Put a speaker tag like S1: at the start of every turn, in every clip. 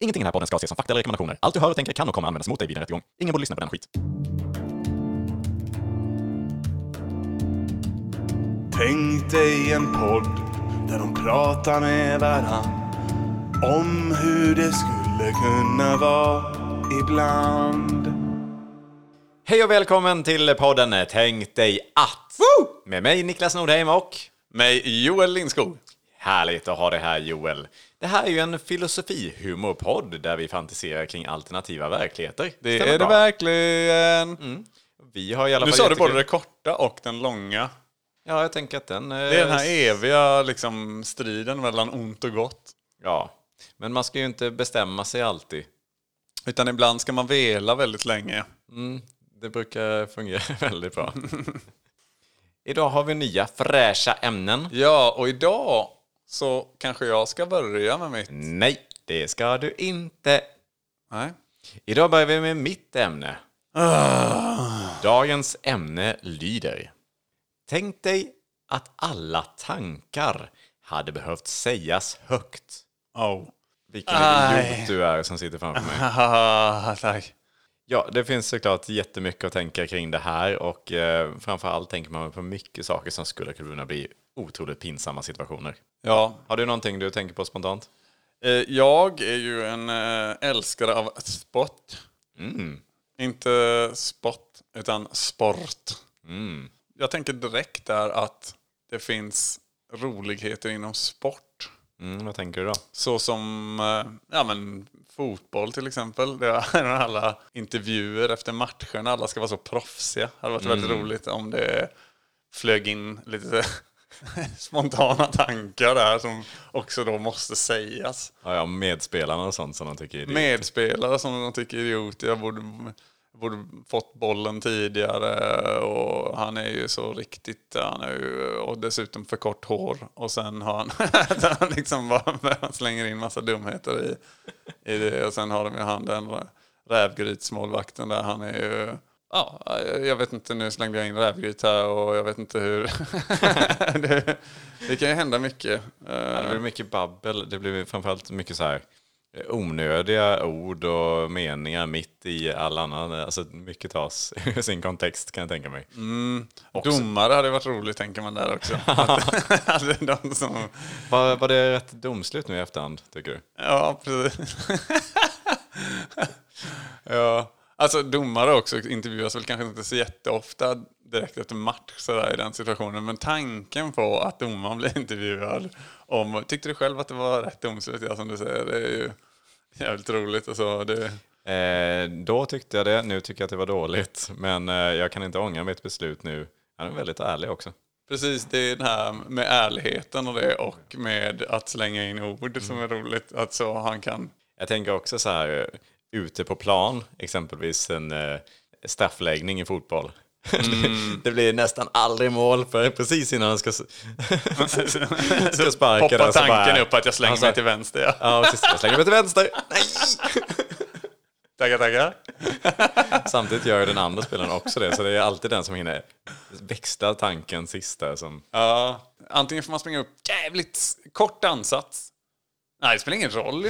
S1: Ingenting i den här podden ska ses som fakta eller rekommendationer. Allt du hör och tänker kan och kommer användas mot dig vid en rättegång. Ingen borde lyssna på den skit.
S2: Tänk dig en podd där de pratar med varann om hur det skulle kunna vara ibland.
S3: Hej och välkommen till podden Tänk dig att! Med mig Niklas Nordheim och
S4: Mig Joel Lindskog.
S3: härligt att ha det här Joel. Det här är ju en filosofihumorpodd där vi fantiserar kring alternativa verkligheter.
S4: Det
S3: Stämmer
S4: är det
S3: bra.
S4: verkligen.
S3: Vi har i alla
S4: Nu
S3: fall
S4: sa du både
S3: jättekul-
S4: det korta och den långa.
S3: Ja, jag tänker att den... eh,
S4: Det är den här eviga liksom, striden mellan ont och gott.
S3: Ja, men man ska ju inte bestämma sig alltid.
S4: Utan ibland ska man vela väldigt länge.
S3: Det brukar fungera väldigt bra. Idag har vi nya fräscha ämnen.
S4: Ja, och idag så kanske jag ska börja med mitt...
S3: Nej, det ska du inte.
S4: Nej.
S3: Idag börjar vi med mitt ämne.
S4: Ah.
S3: Dagens ämne lyder. Tänk dig att alla tankar hade behövt sägas högt.
S4: Oh.
S3: Vilken
S4: Aj.
S3: idiot du är som sitter framför mig.
S4: Haha, tack.
S3: Ja, det finns såklart jättemycket att tänka kring det här och eh, framförallt tänker man på mycket saker som skulle kunna bli otroligt pinsamma situationer.
S4: Ja,
S3: Har du någonting du tänker på spontant?
S4: eh, jag är ju en eh, älskare av sport. Inte sport, utan sport.
S3: Mm.
S4: Jag tänker direkt där att det finns roligheter inom sport.
S3: Mm, vad tänker du då?
S4: Så som eh, ja, men, fotboll till exempel. Det är när alla intervjuer efter matcherna. Alla ska vara så proffsiga. Det hade varit väldigt roligt om det flög in lite spontana tankar där som också då måste sägas.
S3: Ja, ja, medspelarna och sånt som de tycker är det.
S4: Medspelare som de tycker är idioter. Jag borde, borde fått bollen tidigare och han är ju så riktigt, han är ju, och dessutom för kort hår. Och sen har han, han liksom bara han slänger in massa dumheter i, i det. Och sen har de ju han den rävgrytsmålvakten där, han är ju Ja, jag vet inte, nu slängde jag in rävgryt här och jag vet inte hur... det, det kan ju hända mycket. Eh,
S3: Det blir mycket babbel. Det blir framförallt mycket så här eh, onödiga ord och meningar mitt i all annan. Alltså mycket tas ur sin kontext kan jag tänka mig.
S4: Domare hade varit roligt tänker man där också. Att- att de som,
S3: Var, var det rätt domslut nu i efterhand tycker du?
S4: ja, precis. ja. Alltså domare också intervjuas väl kanske inte så jätteofta direkt efter match sådär i den situationen. Men tanken på att domaren blir intervjuad om, tyckte du själv att det var rätt domslut? Ja, som du säger, det är ju jävligt roligt. Och så, det,
S3: Eh, då tyckte jag det, nu tycker jag att det var dåligt. Men eh, jag kan inte ångra mitt beslut nu. Han är väldigt ärlig också.
S4: Precis, det är det här med ärligheten och det och med att slänga in ord som är roligt. Att så han kan
S3: Jag tänker också så här, eh, ute på plan, exempelvis en eh, straffläggning i fotboll. det blir nästan aldrig mål för precis innan han ska, s- ska sparka
S4: poppar
S3: den så
S4: tanken
S3: bara-
S4: upp att jag slänger
S3: Han sa-
S4: mig till vänster. Ja.
S3: Ja, precis. Jag slänger mig till vänster. Nej!
S4: Tackar, tackar.
S3: Samtidigt gör ju den andra spelaren också det, så det är alltid den som hinner växla tanken sista som...
S4: Ja. Antingen får man springa upp jävligt kort ansats. Nej, det spelar ingen roll.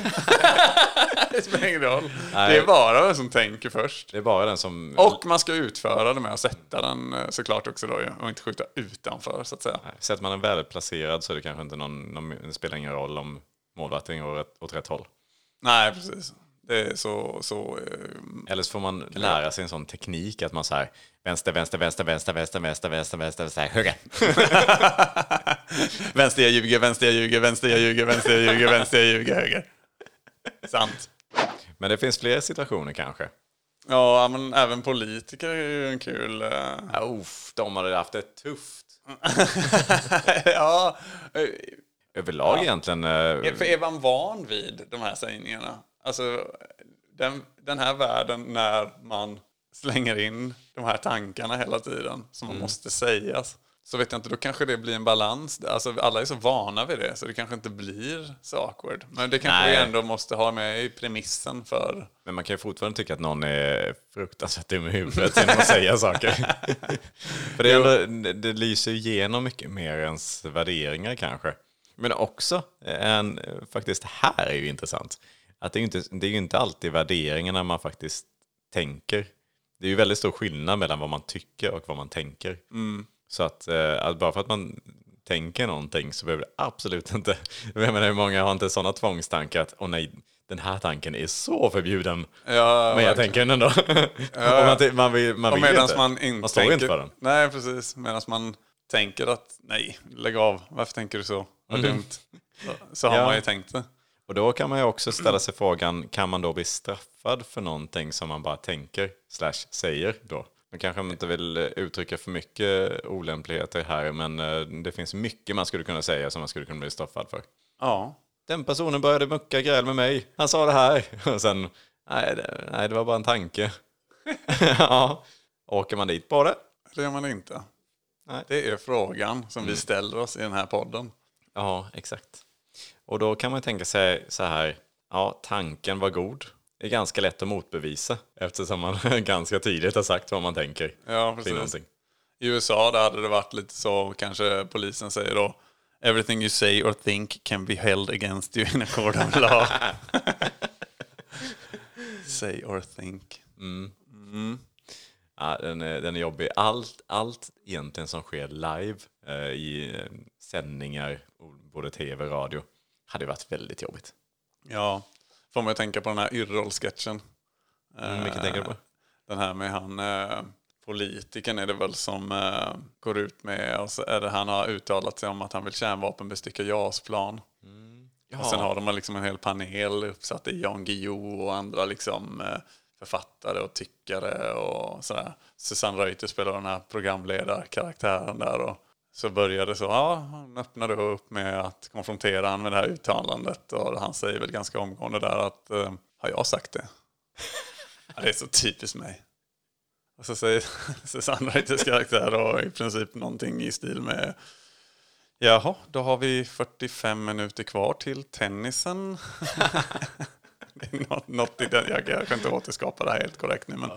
S4: det spelar ingen roll. Det är bara den som tänker först.
S3: Det är bara den som...
S4: Och man ska utföra det med att sätta den eh, såklart också då ju, och inte skjuta utanför så att säga.
S3: Sätter man den välplacerad så är det kanske inte någon, någon det spelar ingen roll om målvakten går åt- åt rätt håll.
S4: Nej, precis. Det är så, så eh,
S3: Eller så får man lära sig en sån teknik att man så här vänster, vänster, vänster, vänster, vänster, vänster, vänster, vänster, så här höger.
S4: Vänster jag ljuger, vänster jag ljuger, vänster jag ljuger, vänster jag ljuger, vänster jag ljuger, höger. Sant.
S3: Men det finns fler situationer kanske.
S4: Ja, men även politiker är ju en kul... eh,
S3: Ja, uff, de hade haft det tufft.
S4: ja, eh,
S3: Överlag egentligen. Eh,
S4: för är man van vid de här sägningarna? Alltså, den, den här världen när man slänger in de här tankarna hela tiden som
S3: Mm.
S4: man måste sägas. Så vet jag inte, då kanske det blir en balans. Alltså, alla är så vana vid det så det kanske inte blir så awkward. Men det kanske vi
S3: Nej.
S4: ändå måste ha med i premissen för
S3: men man kan ju fortfarande tycka att någon är fruktansvärt dum i huvudet genom att säga saker. för det, är ändå, det lyser ju igenom mycket mer eh, ens värderingar kanske. Men också, en, faktiskt här är ju intressant. att det är ju inte, det är ju inte alltid värderingarna man faktiskt tänker. Det är ju väldigt stor skillnad mellan vad man tycker och vad man tänker. Så att, eh, att bara för att man tänker någonting så behöver det absolut inte... Jag menar hur många har inte sådana tvångstankar att åh nej, den här tanken är så förbjuden.
S4: Ja,
S3: Men jag tänker den ändå. och man, ty- man vill, man
S4: och
S3: vill
S4: medan
S3: inte.
S4: man inte
S3: man står ju
S4: tänker,
S3: inte för den.
S4: Nej, precis. Medan man tänker att nej, lägg av. Varför tänker du så? Vad dumt. Så- Så har
S3: Mm. Ja.
S4: man ju tänkt det.
S3: Och då kan man ju också ställa sig frågan, kan man då bli straffad för någonting som man bara tänker slash säger då? Nu kanske man inte vill eh, uttrycka för mycket olämpligheter här, men eh, det finns mycket man skulle kunna säga som man skulle kunna bli straffad för.
S4: Ja.
S3: Den personen började mucka gräl med mig, han sa det här, och sen, nej det, nej, det var bara en tanke. ja, åker man dit på det?
S4: Det gör man inte.
S3: Nej.
S4: Det är frågan som
S3: Mm.
S4: vi ställer oss i den här podden.
S3: Ja, exakt. Och då kan man ju tänka sig så här, ja, tanken var god. Det är ganska lätt att motbevisa eftersom man ganska tydligt har sagt vad man tänker.
S4: Ja,
S3: kring
S4: precis.
S3: någonting.
S4: I USA där hade det varit lite så, kanske polisen säger då Everything you say or think can be held against you in a court of law. say or think.
S3: Ja, den, är, den är jobbig. Allt, allt egentligen som sker live eh, i eh, sändningar, o- både tv och radio, hade varit väldigt jobbigt.
S4: Ja, får man ju tänka på den här Yrrol-sketchen. Eh,
S3: Mm, vilken tänker du på?
S4: Den här med han eh, politiken är det väl som eh, går ut med och så är det han har uttalat sig om att han vill kärnvapenbestycka JAS-plan. Och sen har de liksom en hel panel uppsatt i Jan Guillou och andra liksom eh, författare och tyckare och sådär. Susanne Reuter spelar den här programledarkaraktären där och så börjar det så, ja, han öppnar då upp med att konfrontera han med det här uttalandet och han säger väl ganska omgående där att, eh, har jag sagt det? Ja, det är så typiskt mig. Och så säger Susanne Reuters karaktär då i princip någonting i stil med Jaha, då har vi 45 minuter kvar till tennisen. det är något, något i den, jag kan inte återskapa det här helt korrekt nu. Men,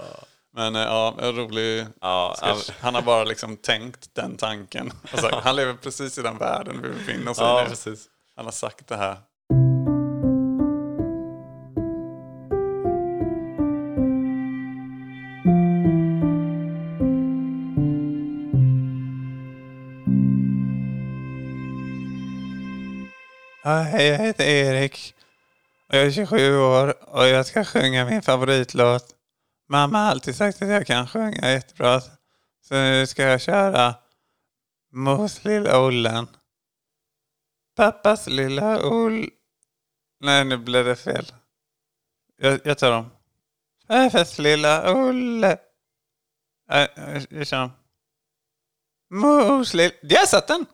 S4: men eh, ja, en rolig
S3: Ja,
S4: sketch. Han har bara liksom tänkt den tanken. Och sagt, han lever precis i den världen vi befinner oss
S3: Ja,
S4: i nu.
S3: precis.
S4: Han har sagt det här. hej, jag heter Erik. Och jag är 27 år och jag ska sjunga min favoritlåt. Mamma har alltid sagt att jag kan sjunga jättebra. Så nu ska jag köra Mos lilla Ollen. Pappas lilla Oll... Nej, nu blev det fel. Jag, jag tar om. Farfars lilla Olle. Äh, jag- jag kör om. Mos lilla... Där satt den!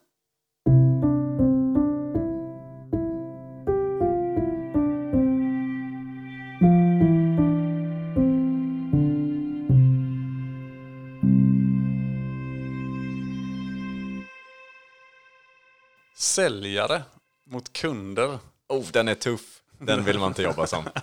S4: Säljare mot kunder.
S3: Oh, den är tuff. Den vill man inte jobba som.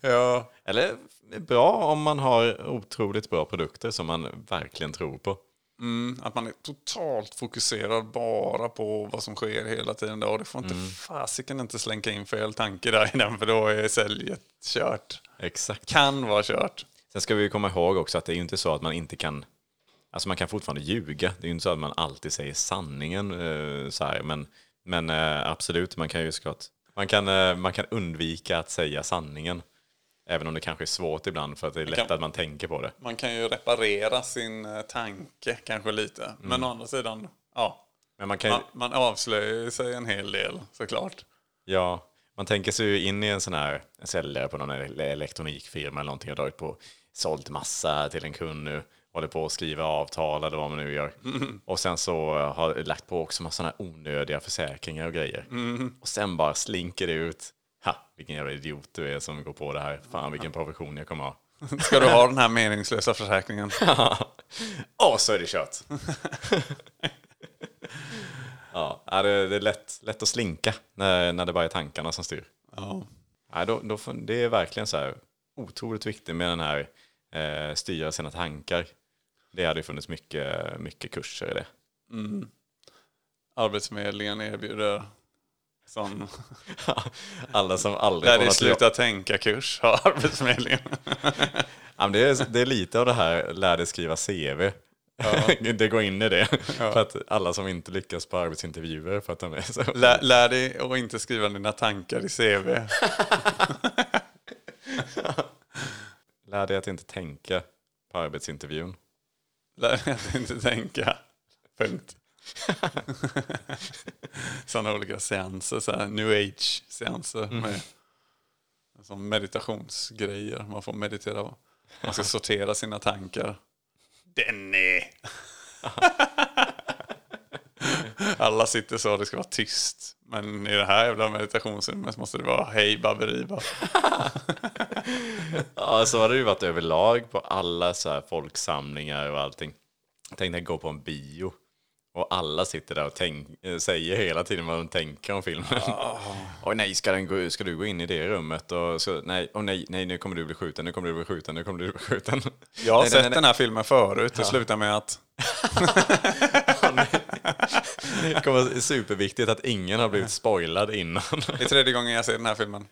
S4: Ja.
S3: Eller bra om man har otroligt bra produkter som man verkligen tror på.
S4: Mm, att man är totalt fokuserad bara på vad som sker hela tiden. där. Och det får inte fasiken inte slänka in fel tanke där i den för då är säljet kört.
S3: Exakt.
S4: Kan vara kört.
S3: Sen ska vi ju komma ihåg också att det är ju inte så att man inte kan... Alltså man kan fortfarande ljuga. Det är ju inte så att man alltid säger sanningen eh, så här. Men, men eh, absolut, man kan ju såklart... Man kan, eh, man kan undvika att säga sanningen. Även om det kanske är svårt ibland för att det är lätt
S4: kan-
S3: att man tänker på det.
S4: Man kan ju reparera sin eh, tanke kanske lite. Men å andra sidan, ja.
S3: Men man kan ju...
S4: Man, man avslöjar ju sig en hel del såklart.
S3: Ja, man tänker sig ju in i en sån här en säljare på någon ele- elektronikfirma eller någonting och dragit på sålt massa till en kund nu. Håller på att skriva avtal eller vad man nu gör. Och sen så eh, har lagt på också massa såna här onödiga försäkringar och grejer. Och sen bara slinker det ut. Ha, vilken jävla idiot du är som går på det här. Fan vilken profession jag kommer ha.
S4: Ska du ha den här meningslösa försäkringen?
S3: Åh, så är det kört. ja, ja, det det är lätt, lätt att slinka när, när det bara är tankarna som styr.
S4: Ja.
S3: Nej, då, då, får- det är verkligen så här otroligt viktigt med den här eh, styra sina tankar. Det hade ju funnits mycket, mycket kurser i det.
S4: Arbetsförmedlingen erbjuder Sån,
S3: Alla som aldrig
S4: där det är
S3: något jobb.
S4: sluta tänka-kurs har Arbetsförmedlingen.
S3: Ja, men det, är, det är lite av det här lär dig skriva CV. det går in i det. För att alla som inte lyckas på arbetsintervjuer för att de är så.
S4: Lär, lär dig att inte skriva dina tankar i CV.
S3: Lär dig att inte tänka på arbetsintervjun.
S4: Lär dig att inte tänka. Punkt. Sådana olika seanser, så här new age-seanser
S3: Mm.
S4: med som meditationsgrejer man får meditera på. Man ska sortera sina tankar. Denny! Alla sitter så, det ska vara tyst. Men i det här jävla meditationsrummet måste det vara hej baberiba.
S3: Ja, så har det ju varit överlag på alla så här folksamlingar och allting. Tänk dig gå på en bio och alla sitter där och tänk, eh, säger hela tiden vad de tänker om filmen. Och nej, ska, den gå, ska du gå in i det rummet? Och så, nej, och nej, nej, nu kommer du bli skjuten, nu kommer du bli skjuten, nu kommer du bli skjuten.
S4: Jag har
S3: nej,
S4: sett
S3: nej, nej,
S4: den här filmen förut, det slutar med att
S3: Det kommer vara superviktigt att ingen har blivit spoilad innan.
S4: det är tredje gången jag ser den här filmen.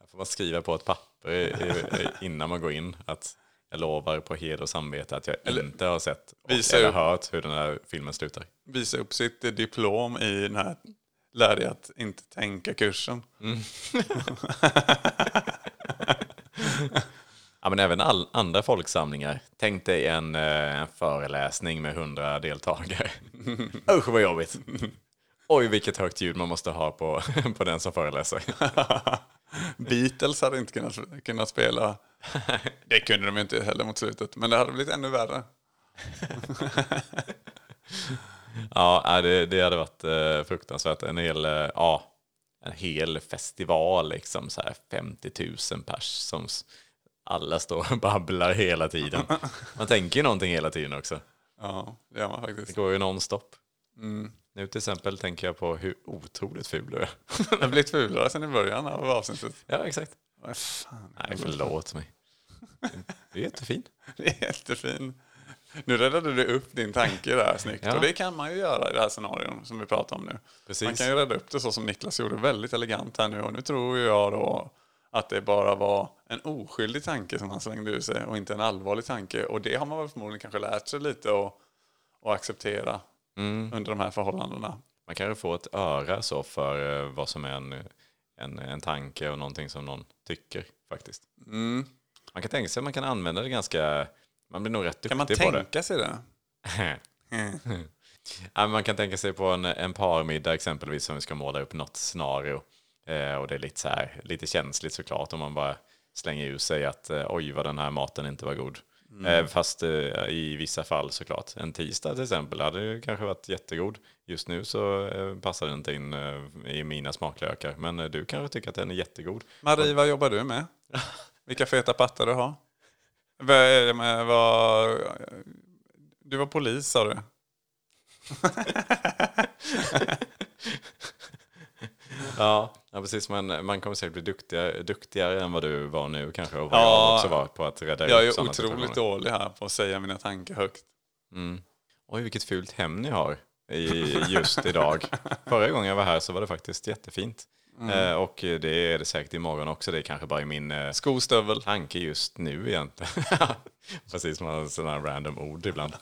S3: Här får man skriva på ett papper i- i- innan man går in att jag lovar på heder och samvete att jag inte har sett och-
S4: Visa
S3: eller
S4: upp.
S3: hört hur den här filmen slutar.
S4: visa upp sitt eh, diplom i den här lär dig att inte tänka-kursen.
S3: Ja, men även all, andra folksamlingar. Tänk dig en, eh, en föreläsning med hundra deltagare. Usch vad jobbigt. Oj vilket högt ljud man måste ha på, på den som föreläser.
S4: Beatles hade inte kunnat, kunnat spela. Det kunde de ju inte heller mot slutet, men det hade blivit ännu värre.
S3: Ja, nej, det, det hade varit eh, fruktansvärt. En hel, eh, ja, en hel festival, liksom så här 50 000 pers som s- alla står och babblar hela tiden. Man tänker ju någonting hela tiden också.
S4: Ja, det gör man
S3: Det
S4: faktiskt.
S3: går ju nonstop. Nu till exempel tänker jag på hur otroligt ful du är.
S4: Det har blivit fulare sedan i början av avsnittet.
S3: ja, exakt.
S4: Vad fan.
S3: Nej, Alltså, förlåt mig. Du är jättefin.
S4: Det är jättefin. Nu räddade du upp din tanke där snyggt.
S3: Ja.
S4: Och det kan man ju göra i det här scenarion som vi pratar om nu.
S3: Precis.
S4: Man kan ju rädda upp det så som Niklas gjorde väldigt elegant här nu. Och nu tror ju jag då att det bara var en oskyldig tanke som han slängde ur sig och inte en allvarlig tanke. Och det har man väl förmodligen kanske lärt sig lite och, och acceptera
S3: Mm.
S4: under de här förhållandena.
S3: Man kan ju få ett öra så för eh, vad som är en, en, en tanke och någonting som någon tycker faktiskt.
S4: Mm.
S3: Man kan tänka sig att man kan använda det ganska, man blir nog rätt duktig
S4: Kan man
S3: på det.
S4: tänka sig det? Mm.
S3: Ja, men man kan tänka sig på en, en parmiddag exempelvis som vi ska måla upp något scenario. Eh, och det är lite, så här, lite känsligt såklart om man bara slänger ur sig att eh, oj vad den här maten inte var god.
S4: Mm.
S3: Eh, fast eh, i vissa fall såklart. En tisdag till exempel hade ju kanske varit jättegod. Just nu så eh, passar den inte in eh, i mina smaklökar. Men eh, du kanske tycker att den är jättegod.
S4: Marie, vad jobbar du med? Vilka feta pattar du har? Vad är det med vad... Du var polis sa du.
S3: Ja, ja precis. Man, man kommer säkert bli duktigare, duktigare än vad du var nu kanske. Och vad
S4: Ja,
S3: jag också var på att rädda
S4: Jag
S3: upp
S4: är typ
S3: sådana
S4: otroligt
S3: situationer.
S4: dålig här på att säga mina tankar högt.
S3: Mm. Oj, vilket fult hem ni har i, just idag. Förra gången jag var här så var det faktiskt jättefint.
S4: Mm.
S3: Eh, och det är det säkert imorgon också. Det är kanske bara i min eh,
S4: Skostövel.
S3: tanke just nu egentligen. Precis som man har sådana här random ord ibland.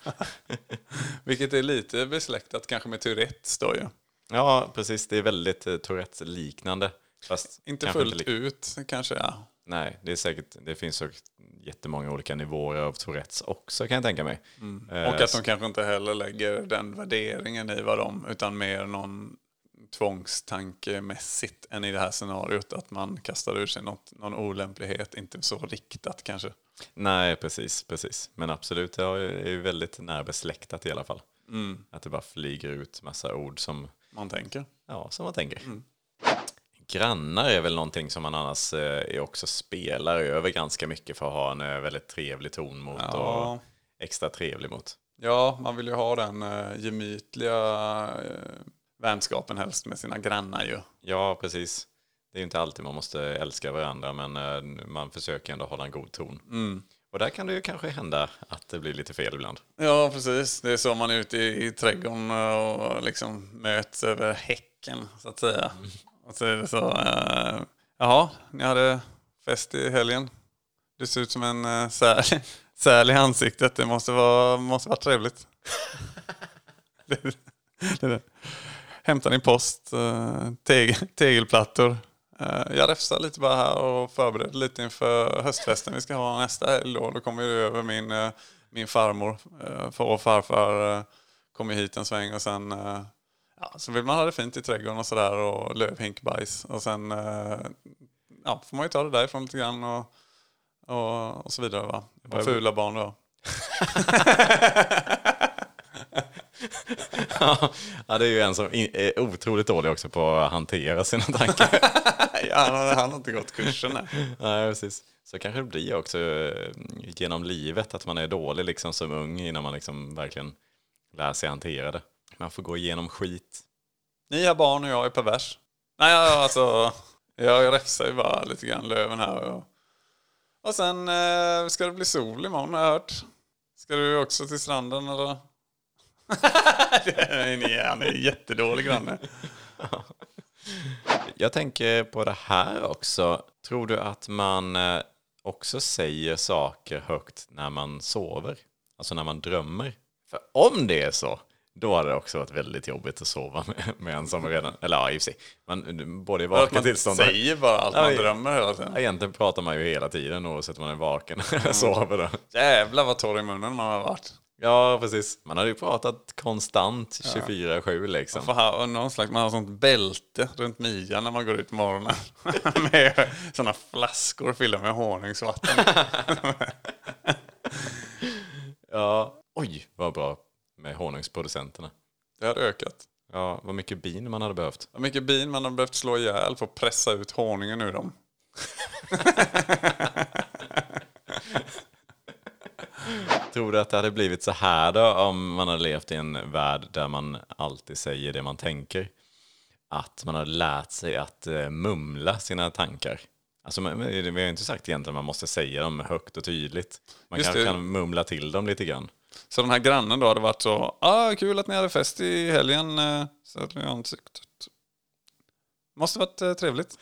S4: Vilket är lite besläktat kanske med Tourettes då ju.
S3: Ja, precis. Det är väldigt eh, Tourettes-liknande. Fast
S4: Inte
S3: kanske
S4: fullt
S3: lik-
S4: ut kanske ja.
S3: Nej, det, är säkert, det finns så jättemånga olika nivåer av Tourettes också kan jag tänka mig. Eh,
S4: Mm. Och att de kanske inte heller lägger den värderingen i vad de, utan mer någon tvångstankemässigt än i det här scenariot. Att man kastar ur sig något, någon olämplighet, inte så riktat kanske.
S3: Nej, precis, precis. Men absolut, det har ju- är ju väldigt närbesläktat i alla fall. Att det bara flyger ut massa ord som,
S4: Man tänker.
S3: ja, som man tänker. Grannar är väl någonting som man annars eh, är också spelar över ganska mycket för att ha en eh, väldigt trevlig ton mot
S4: Ja.
S3: och extra trevlig mot.
S4: Ja, man vill ju ha den eh, gemytliga eh, vänskapen helst med sina grannar ju.
S3: Ja, precis. Det är ju inte alltid man måste älska varandra, men eh, man försöker ändå hålla en god ton. Och där kan det ju kanske hända att det blir lite fel ibland.
S4: Ja, precis. Det är så man är ute i, i trädgården och liksom möts över häcken, så att säga. Och så är det så, eh, jaha, ni hade fest i helgen. Du ser ut som en eh, säl, säl i ansiktet. Det måste vara, måste vara trevligt. det, är- det, är det. Hämtar ni post, eh, tegel, tegelplattor. Eh, Jag räfsar lite bara här och förbereder lite inför höstfesten vi ska ha nästa helg. Då, då kommer ju över min, eh, min farmor eh, far och farfar eh, kommer hit en sväng och sen eh, ja, så vill man ha det fint i trädgården och sådär och lövhinkbajs. Och sen eh, ja, får man ju ta det därifrån lite grann och, och, och så vidare. Va? Och fula barn då.
S3: ja, det är ju en som i- är otroligt dålig också på att hantera sina tankar.
S4: Ja, han, har- han har inte gått kursen än.
S3: Nej, precis. Så kanske det blir också eh, genom livet att man är dålig liksom som ung innan man liksom verkligen lär sig hantera det. Man får gå igenom skit.
S4: Ni har barn och jag är pervers. Nej, jag, alltså, jag räfsar ju bara lite grann löven här. Och, och sen eh, ska det bli sol imorgon har jag hört. Ska du också till stranden eller? Nej, han är jättedålig granne.
S3: Jag tänker på det här också. Tror du att man eh, också säger saker högt när man sover? Alltså när man drömmer? För om det är så, då hade det också varit väldigt jobbigt att sova med, med en som redan... Eller ja, i och för sig. Man, både i
S4: Att
S3: vaken
S4: man
S3: tillstånd... och-
S4: säger bara allt man
S3: Oj.
S4: drömmer hela tiden.
S3: Ja, Egentligen pratar man ju hela tiden oavsett om man är vaken eller sover. Då.
S4: Jävlar vad torr i munnen man har varit.
S3: Ja, precis. Man hade ju pratat konstant 24-7 liksom.
S4: För här, och någon slags, man har sånt bälte runt midjan när man går ut på morgonen. med sådana flaskor fyllda med honungsvatten.
S3: Ja. Oj, vad bra med honungsproducenterna.
S4: Det har ökat.
S3: Ja, vad mycket bin man hade behövt.
S4: Vad mycket bin man har behövt slå ihjäl för att pressa ut honungen ur dem.
S3: Tror du att det hade blivit så här då om man hade levt i en värld där man alltid säger det man tänker? Att man hade lärt sig att eh, mumla sina tankar. Alltså, men- men vi har ju inte sagt egentligen att man måste säga dem högt och tydligt. Man
S4: Just
S3: kanske
S4: det.
S3: kan mumla till dem lite grann.
S4: Så den här grannen då hade varit så, ah kul att ni hade fest i helgen. eh, Så hade jag ansiktet. Måste varit eh, trevligt.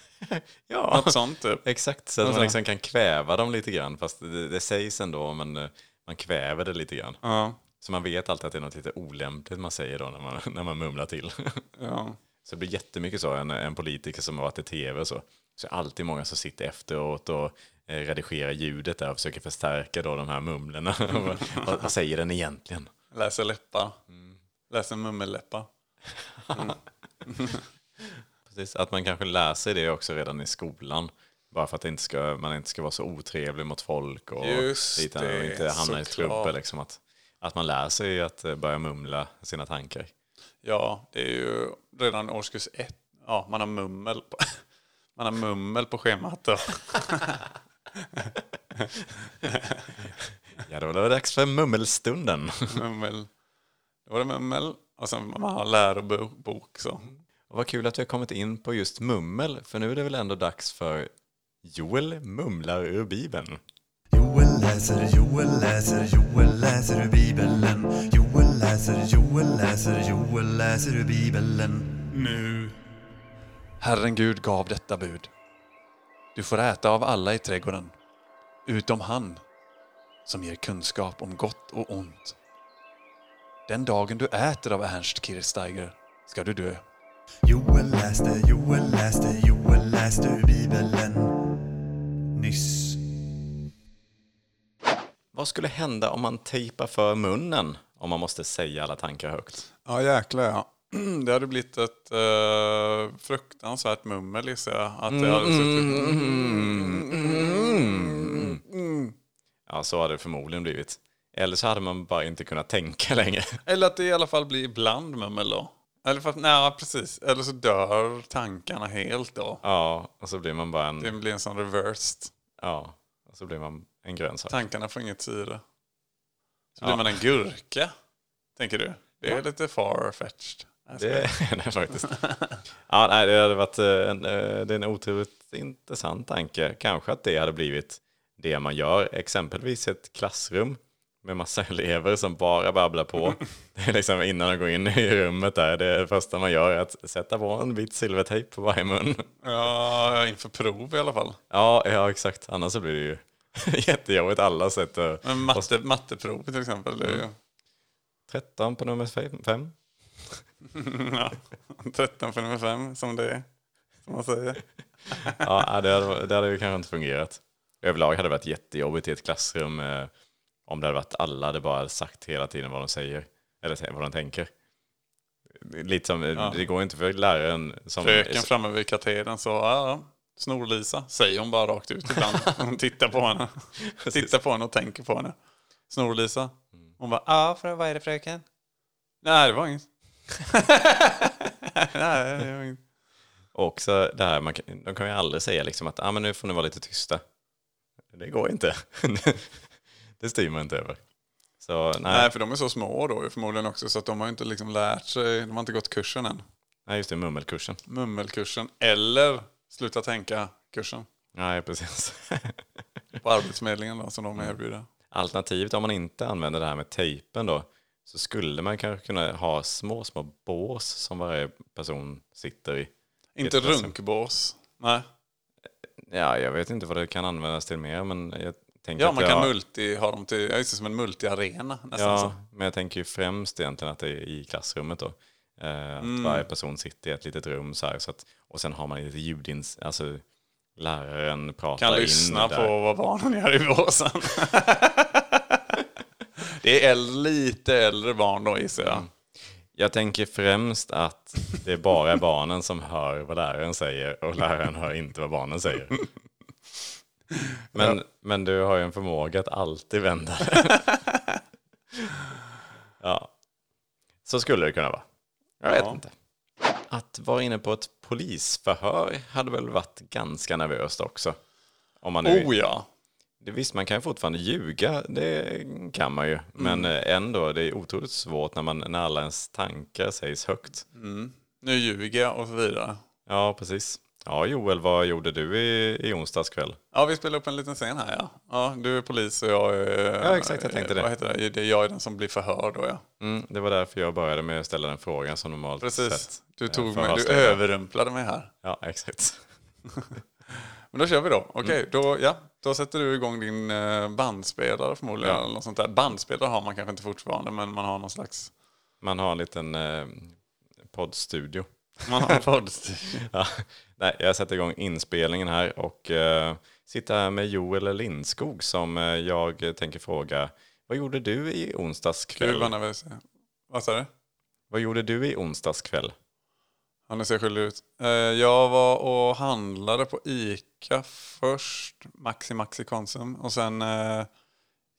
S3: Ja,
S4: Något sånt typ.
S3: exakt. Så att man
S4: Alltså.
S3: liksom kan kväva dem lite grann. Fast det, det sägs ändå, men eh, man kväver det lite grann.
S4: Ja,
S3: Så man vet alltid att det är något lite olämpligt man säger då när man, när man mumlar till.
S4: ja.
S3: Så det blir jättemycket så, en, en politiker som har varit i tv och så. Så är det alltid många som sitter efteråt och eh, redigerar ljudet där och försöker förstärka då de här mumlorna. vad, vad- vad säger den egentligen?
S4: Läser läppar. Läser mummelläppar.
S3: Precis, att man kanske lär sig det också redan i skolan. Bara för att det inte ska, man inte ska vara så otrevlig mot folk och,
S4: Just
S3: lite- och
S4: det,
S3: inte hamna i
S4: såklart.
S3: strumpor. Liksom, att, att man lär sig att eh, börja mumla sina tankar.
S4: Ja, det är ju redan årskurs ett. Ja, man har mummel på, man har mummel på schemat då.
S3: Ja, då var det dags för mummelstunden.
S4: Mummel. Då var det mummel. Och sen man har lärobok så.
S3: Och vad kul att vi har kommit in på just mummel, för nu är det väl ändå dags för Joel mumlar ur Bibeln.
S5: Joel läser, Joel läser, Joel läser ur Bibeln. Joel läser, Joel läser, Joel läser ur Bibeln.
S2: Nu.
S4: Herren Gud gav detta bud. Du får äta av alla i trädgården, utom han som ger kunskap om gott och ont. Den dagen du äter av Ernst Kirchsteiger ska du dö.
S5: Joel läste, Joel läste, Joel läste ur Bibeln. Nyss.
S3: Vad skulle hända om man tejpar för munnen om man måste säga alla tankar högt?
S4: Ja, jäklar ja. Det hade blivit ett eh, fruktansvärt mummel gissar jag. Att det hade suttit...
S3: Ja, så hade det förmodligen blivit. Eller så hade man bara inte kunnat tänka längre.
S4: Eller att det i alla fall blir ibland mummel då. Eller för att, nej, precis. Eller så dör tankarna helt då.
S3: Ja, och så blir man bara
S4: Det
S3: en...
S4: blir en sån reversed.
S3: Ja, och så blir man en grönsak.
S4: Tankarna får inget syre. Så blir man en gurka, tänker du. Det är lite far-fetched.
S3: Det är det faktiskt. Ja, nej, det, hade varit eh, en, eh, det är en otroligt intressant tanke. Kanske att det hade blivit det man gör, exempelvis ett klassrum med massa elever som bara babblar på. Det är liksom innan de går in i rummet där, det första man gör är att sätta på en bit silvertejp på varje mun.
S4: Ja, inför prov i alla fall.
S3: Ja, ja exakt, annars så blir det ju jättejobbigt alla sätter
S4: Men matte, matteprov till exempel. det är ju-
S3: 13 på nummer 5.
S4: Ja, 13 för nummer 5 som det är. Som man säger.
S3: Ja, äh, det hade, det hade ju kanske inte fungerat. Överlag hade det varit jättejobbigt i ett klassrum eh, om det hade varit alla hade bara sagt hela tiden vad de säger eller t- vad de tänker. Lite som, eh, det går inte för läraren som...
S4: Fröken framme vid katedern så, ja, ja. Snor-Lisa, säger hon bara rakt ut ibland. Hon tittar på henne. Tittar på henne och tänker på henne. Snor-Lisa. Hon bara, ja, frö, vad är det fröken? Nej, det var inget. Nej, det var inget.
S3: Också det här, man, kan- de kan ju aldrig säga liksom att ah, men nu får ni vara lite tysta. Det går inte. det styr man inte över. Så nej,
S4: Nej,
S3: nej.
S4: för de är så små då ju förmodligen också så att de har ju inte liksom lärt sig, de har inte gått kursen än.
S3: just det, mummelkursen.
S4: Mummelkursen eller sluta tänka-kursen
S3: Nej, precis.
S4: på Arbetsförmedlingen då, som
S3: Mm.
S4: de erbjuder.
S3: Alternativt om man inte använder det här med tejpen då så skulle man kanske kunna ha små, små bås som varje person sitter i.
S4: Inte
S3: Jättebra sen.
S4: runkbås. Nej.
S3: Ja, jag vet inte vad det kan användas till mer, men jag tänker
S4: Ja,
S3: att
S4: man
S3: jag,
S4: kan multi, ha dem till, ja, just det, som en multiarena nästan.
S3: Ja,
S4: Så.
S3: men jag tänker ju främst egentligen att det är i klassrummet då. Eh, att varje person sitter i ett litet rum så här, så att, och sen har man lite ljudins... Alltså, läraren pratar
S4: Kan
S3: in
S4: lyssna
S3: där.
S4: på vad barnen gör i båsen. det är äl- lite äldre barn då gissar
S3: Mm.
S4: jag.
S3: Jag tänker främst att det är bara barnen som hör vad läraren säger och läraren hör inte vad barnen säger. Men, men du har ju en förmåga att alltid vända det. Ja, så skulle det kunna vara. Jag vet
S4: Ja.
S3: inte. Att vara inne på ett polisförhör hade väl varit ganska nervöst också. Om man nu
S4: Oh ja.
S3: det, visst, man kan ju fortfarande ljuga, det kan man ju.
S4: Mm.
S3: Men eh, ändå, det är otroligt svårt när, man, när alla ens tankar sägs högt.
S4: Nu ljuger jag och så vidare.
S3: Ja, precis. Ja, Joel, vad gjorde du i, i onsdags kväll?
S4: Ja, vi spelar upp en liten scen här ja. ja du är polis och jag är... eh,
S3: Ja, exakt, jag tänkte det.
S4: Vad heter det? det är jag är den som blir förhörd då ja.
S3: Mm, det var därför jag började med att ställa den frågan som normalt sett.
S4: Precis. Du tog mig, du
S3: förhörsledare.
S4: överrumplade mig här.
S3: Ja, exakt.
S4: Men då kör vi då. Okej,
S3: Mm.
S4: då, ja, då sätter du igång din eh, bandspelare förmodligen.
S3: Ja.
S4: Eller något sånt där. Bandspelare har man kanske inte fortfarande, men man har någon slags...
S3: Man har en liten eh, poddstudio.
S4: Man har en poddstudio.
S3: Ja, nej, jag sätter igång inspelningen här och eh, sitter här med Joel Lindskog som eh, jag tänker fråga. Vad gjorde du i onsdags
S4: Gud
S3: kväll?
S4: vad nervös jag är. Vad sa du?
S3: Vad gjorde du i onsdags kväll?
S4: Ja, nu ser jag skyldig ut. Eh, jag var och handlade på Ica först. Maxi Maxi Konsum. Och sen eh,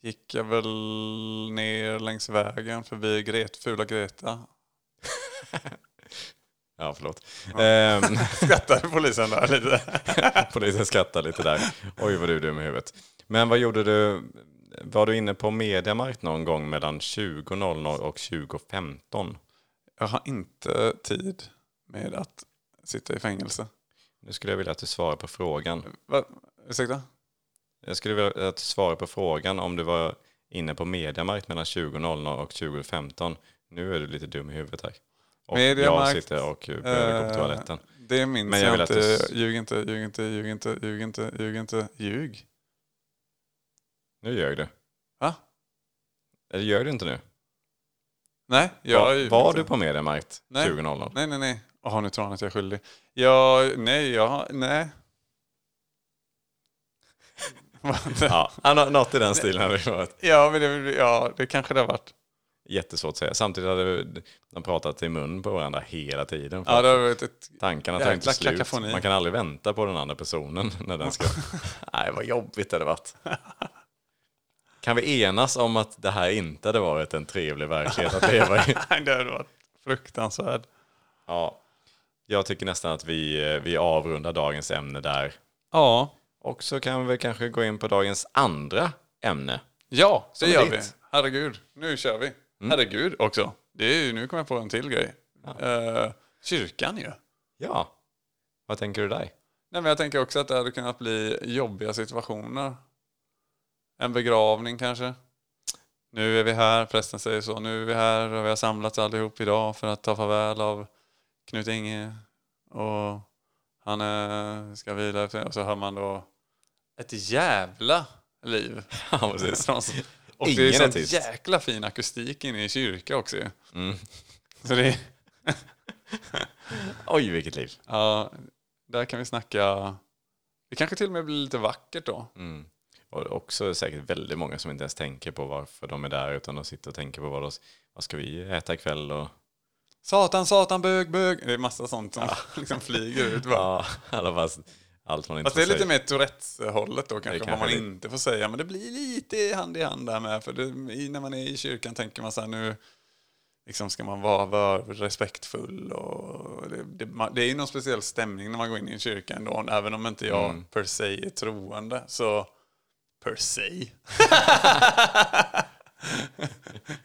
S4: gick jag väl ner längs vägen förbi Gret, fula Greta.
S3: Ja, förlåt. Ehm,
S4: Skrattade polisen där lite.
S3: polisen skrattar lite där. Oj, vad du är dum i huvudet. Men vad gjorde du? Var du inne på Mediamarkt någon gång mellan 20.00 och 20.15?
S4: Jag har inte tid med att sitta i fängelse.
S3: Nu skulle jag vilja att du svarar på frågan.
S4: Va? Ursäkta?
S3: Jag skulle vilja att du svarar på frågan om du var inne på Mediamarkt mellan 20.00 och 20.15. Nu är du lite dum i huvudet här. Och
S4: Mediamarkt,
S3: jag sitter och behöver gå på
S4: eh,
S3: toaletten.
S4: Det minns
S3: Men jag
S4: jag,
S3: vill att
S4: inte.
S3: du-
S4: Ljug inte, ljug inte, ljug inte, ljug inte, ljug inte, ljug.
S3: Nu ljög du.
S4: Va?
S3: Eller gör du inte nu?
S4: Nej, jag
S3: var
S4: ljuger
S3: var
S4: inte.
S3: du på Mediamarkt
S4: Nej.
S3: 20.00?
S4: Nej, nej, nej. Åh, nu tror han att jag är skyldig. Ja, nej, ja, nej. ja.
S3: Ja, ah, nå- något i den stilen hade det varit.
S4: ja, men det, ja, det kanske det har varit.
S3: Jättesvårt att säga. Samtidigt hade de pratat i mun på varandra hela tiden.
S4: Ja, det har varit ett...
S3: Tankarna tar inte
S4: jäkla
S3: slut.
S4: kakafoni.
S3: Man kan aldrig vänta på den andra personen när den ska... Nej, vad jobbigt det hade varit. Kan vi enas om att det här inte hade varit en trevlig verklighet att leva i?
S4: Nej, det har varit fruktansvärt.
S3: Ja. Jag tycker nästan att vi, eh, vi avrundar dagens ämne där.
S4: Ja,
S3: Och så kan vi kanske gå in på dagens andra ämne.
S4: ja det
S3: är
S4: gör vi.
S3: ditt.
S4: Herregud, nu kör vi. Herregud också. Det är ju, nu kommer jag på en till grej. Eh, kyrkan ju.
S3: Ja. Vad tänker du där?
S4: Nej, men jag tänker också att det hade kunnat bli jobbiga situationer. En begravning kanske. Nu är vi här, prästen säger så. Nu är vi här och vi har samlats allihop idag för att ta farväl av Knut Inge. Och han eh, ska vila efter och så hör man då ett jävla liv.
S3: Ja, precis.
S4: Från- och det
S3: Ingen
S4: är
S3: är
S4: sån
S3: tyst.
S4: jäkla fin akustik inne i kyrkan också ju.
S3: Mm.
S4: Så det är,
S3: Oj, vilket liv.
S4: ja, där kan vi snacka. Det kanske till och med blir lite vackert då.
S3: Mm. Och också säkert väldigt många som inte ens tänker på varför de är där utan de sitter och tänker på vad, de, vad ska vi äta ikväll och
S4: Satan, satan, bög, bög. Det är massa sånt som liksom flyger ut. Bara.
S3: ja, i alla fall allt man inte
S4: Fast det är
S3: får
S4: lite
S3: säga.
S4: mer Tourettes-hållet då kanske,
S3: kanske
S4: vad man
S3: det.
S4: inte får säga. Men det blir lite hand i hand där med. För det, i- när man är i kyrkan tänker man så här nu liksom ska man vara vör- respektfull. Och det, det, man, det är ju någon speciell stämning när man går in i en kyrka ändå. Även om inte jag
S3: Mm.
S4: per se är troende. Så per se.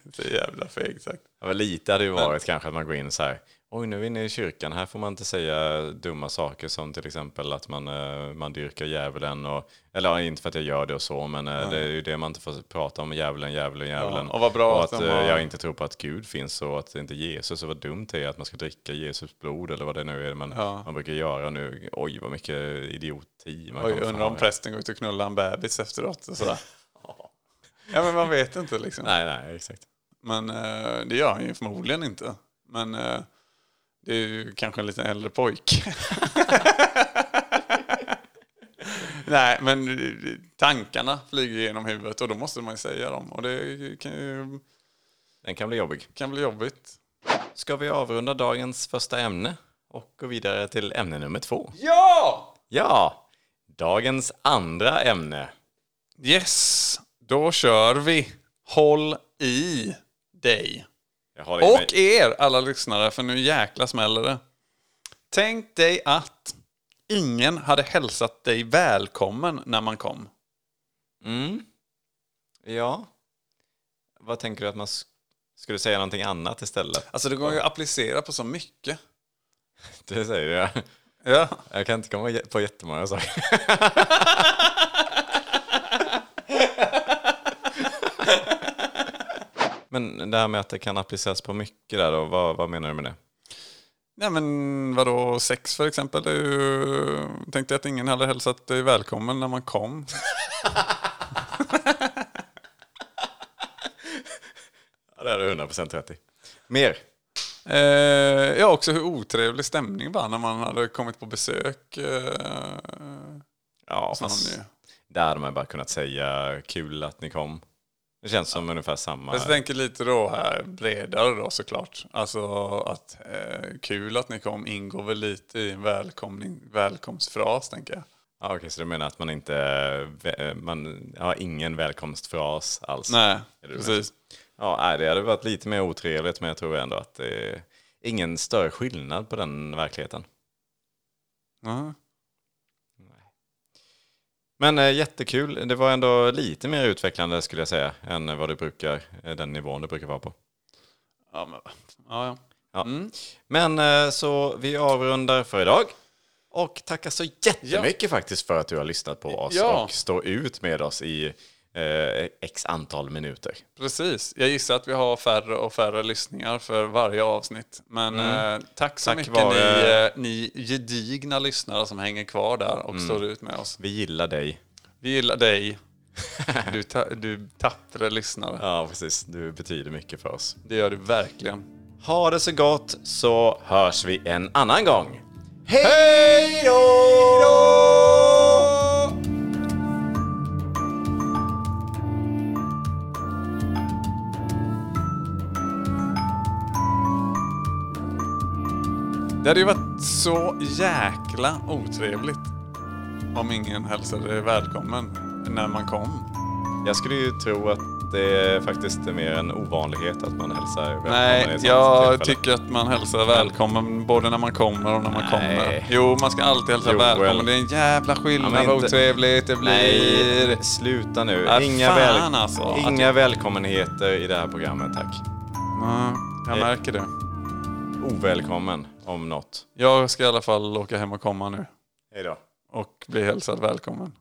S4: det är jävla fegt sagt.
S3: Ja, väl lite hade ju varit kanske att man går in så här. Oj, nu är vi inne i kyrkan. Här får man inte säga dumma saker som till exempel att man, eh, man dyrkar djävulen. Och, eller ja, inte för att jag gör det och så, men eh, det är ju det man inte får prata om. Djävulen, djävulen, djävulen.
S4: Ja, och vad bra
S3: och
S4: att
S3: att,
S4: de
S3: eh,
S4: har-
S3: jag inte tror på att Gud finns och att det inte är Jesus. Och vad dumt det är att man ska dricka Jesus blod eller vad det nu är man,
S4: Ja.
S3: man brukar göra nu. Oj, vad mycket idioti man
S4: Oj,
S3: kommer
S4: undrar
S3: fram
S4: om
S3: med.
S4: prästen går ut och knullar en bebis efteråt och sådär. Ja men man vet inte liksom.
S3: Nej, nej, exakt.
S4: Men eh, det gör han ju förmodligen inte. Men eh, det är ju kanske en liten äldre pojk. Nej men eh, tankarna flyger genom huvudet och då måste man ju säga dem. Och det kan ju
S3: Den kan bli jobbig.
S4: kan bli jobbigt.
S3: Ska vi avrunda dagens första ämne och gå vidare till ämne nummer två?
S4: Ja!
S3: Ja, dagens andra ämne.
S4: Yes, då kör vi. Håll i dig.
S3: Jag har det i
S4: Och
S3: mig.
S4: er alla lyssnare, för nu jäkla smäller det. Tänk dig att ingen hade hälsat dig välkommen när man kom.
S3: Mm. Ja. Vad tänker du att man sk- skulle säga någonting annat istället?
S4: Alltså det går ju att applicera på så mycket.
S3: Det säger jag.
S4: Ja.
S3: Jag kan inte komma jä- på jättemånga saker. Men det här med att det kan appliceras på mycket där då, vad, vad menar du med det?
S4: Nej men vadå, sex för exempel. Det är ju... Tänkte att ingen hade hälsat dig välkommen när man kom.
S3: Ja, det är 100% rätt i. Mer?
S4: Eh, ja, också hur otrevlig stämning var när man hade kommit på besök. Eh,
S3: Ja,
S4: sa någon
S3: fast
S4: ju.
S3: där hade man bara kunnat säga kul att ni kom. Det känns som ungefär samma.
S4: Jag tänker lite då här bredare då såklart. Alltså att eh, kul att ni kom ingår väl lite i en välkomning, välkomstfras tänker jag.
S3: Ja, okej, så du menar att man inte vä- eh, man har ingen välkomstfras alls?
S4: Nej,
S3: Är det
S4: precis.
S3: Ja, nej, det hade varit lite mer otrevligt, men jag tror ändå att det är ingen större skillnad på den verkligheten.
S4: Ja.
S3: Men eh, jättekul. Det var ändå lite mer utvecklande skulle jag säga än vad du brukar, eh, den nivån du brukar vara på.
S4: Ja, men, ja, ja.
S3: Ja. Men eh, så vi avrundar för idag. Och tackar så jättemycket faktiskt för att du har lyssnat på oss
S4: Ja.
S3: och står ut med oss i eh, x antal minuter.
S4: Precis. Jag gissar att vi har färre och färre lyssningar för varje avsnitt. Men eh, tack så
S3: Tack
S4: mycket
S3: vare-
S4: ni, eh, ni gedigna lyssnare som hänger kvar där och står ut med oss.
S3: Vi gillar dig.
S4: Vi gillar dig. Du, ta, du tappre lyssnare.
S3: Ja, precis. Du betyder mycket för oss.
S4: Det gör du verkligen.
S3: Ha det så gott så hörs vi en annan gång. Hej då!
S4: Det hade ju varit så jäkla otrevligt om ingen hälsade dig välkommen när man kom.
S3: Jag skulle ju tro att det är faktiskt är mer en ovanlighet att man hälsar välkommen i
S4: Nej,
S3: ett sånt
S4: jag
S3: tillfälle.
S4: tycker att man hälsar välkommen både när man kommer och när man
S3: Nej.
S4: kommer. Jo, man ska alltid hälsa
S3: Joel.
S4: välkommen. Det är en jävla
S3: Ja,
S4: skillnad
S3: men
S4: vad
S3: inte-
S4: otrevligt det blir.
S3: Nej, sluta nu.
S4: Ja,
S3: inga
S4: fan
S3: väl...
S4: alltså.
S3: inga välkommenheter i det här programmet, tack.
S4: Ja, jag märker det.
S3: Ovälkommen om något.
S4: Jag ska i alla fall åka hem och komma nu
S3: Hej då.
S4: och bli hälsad välkommen.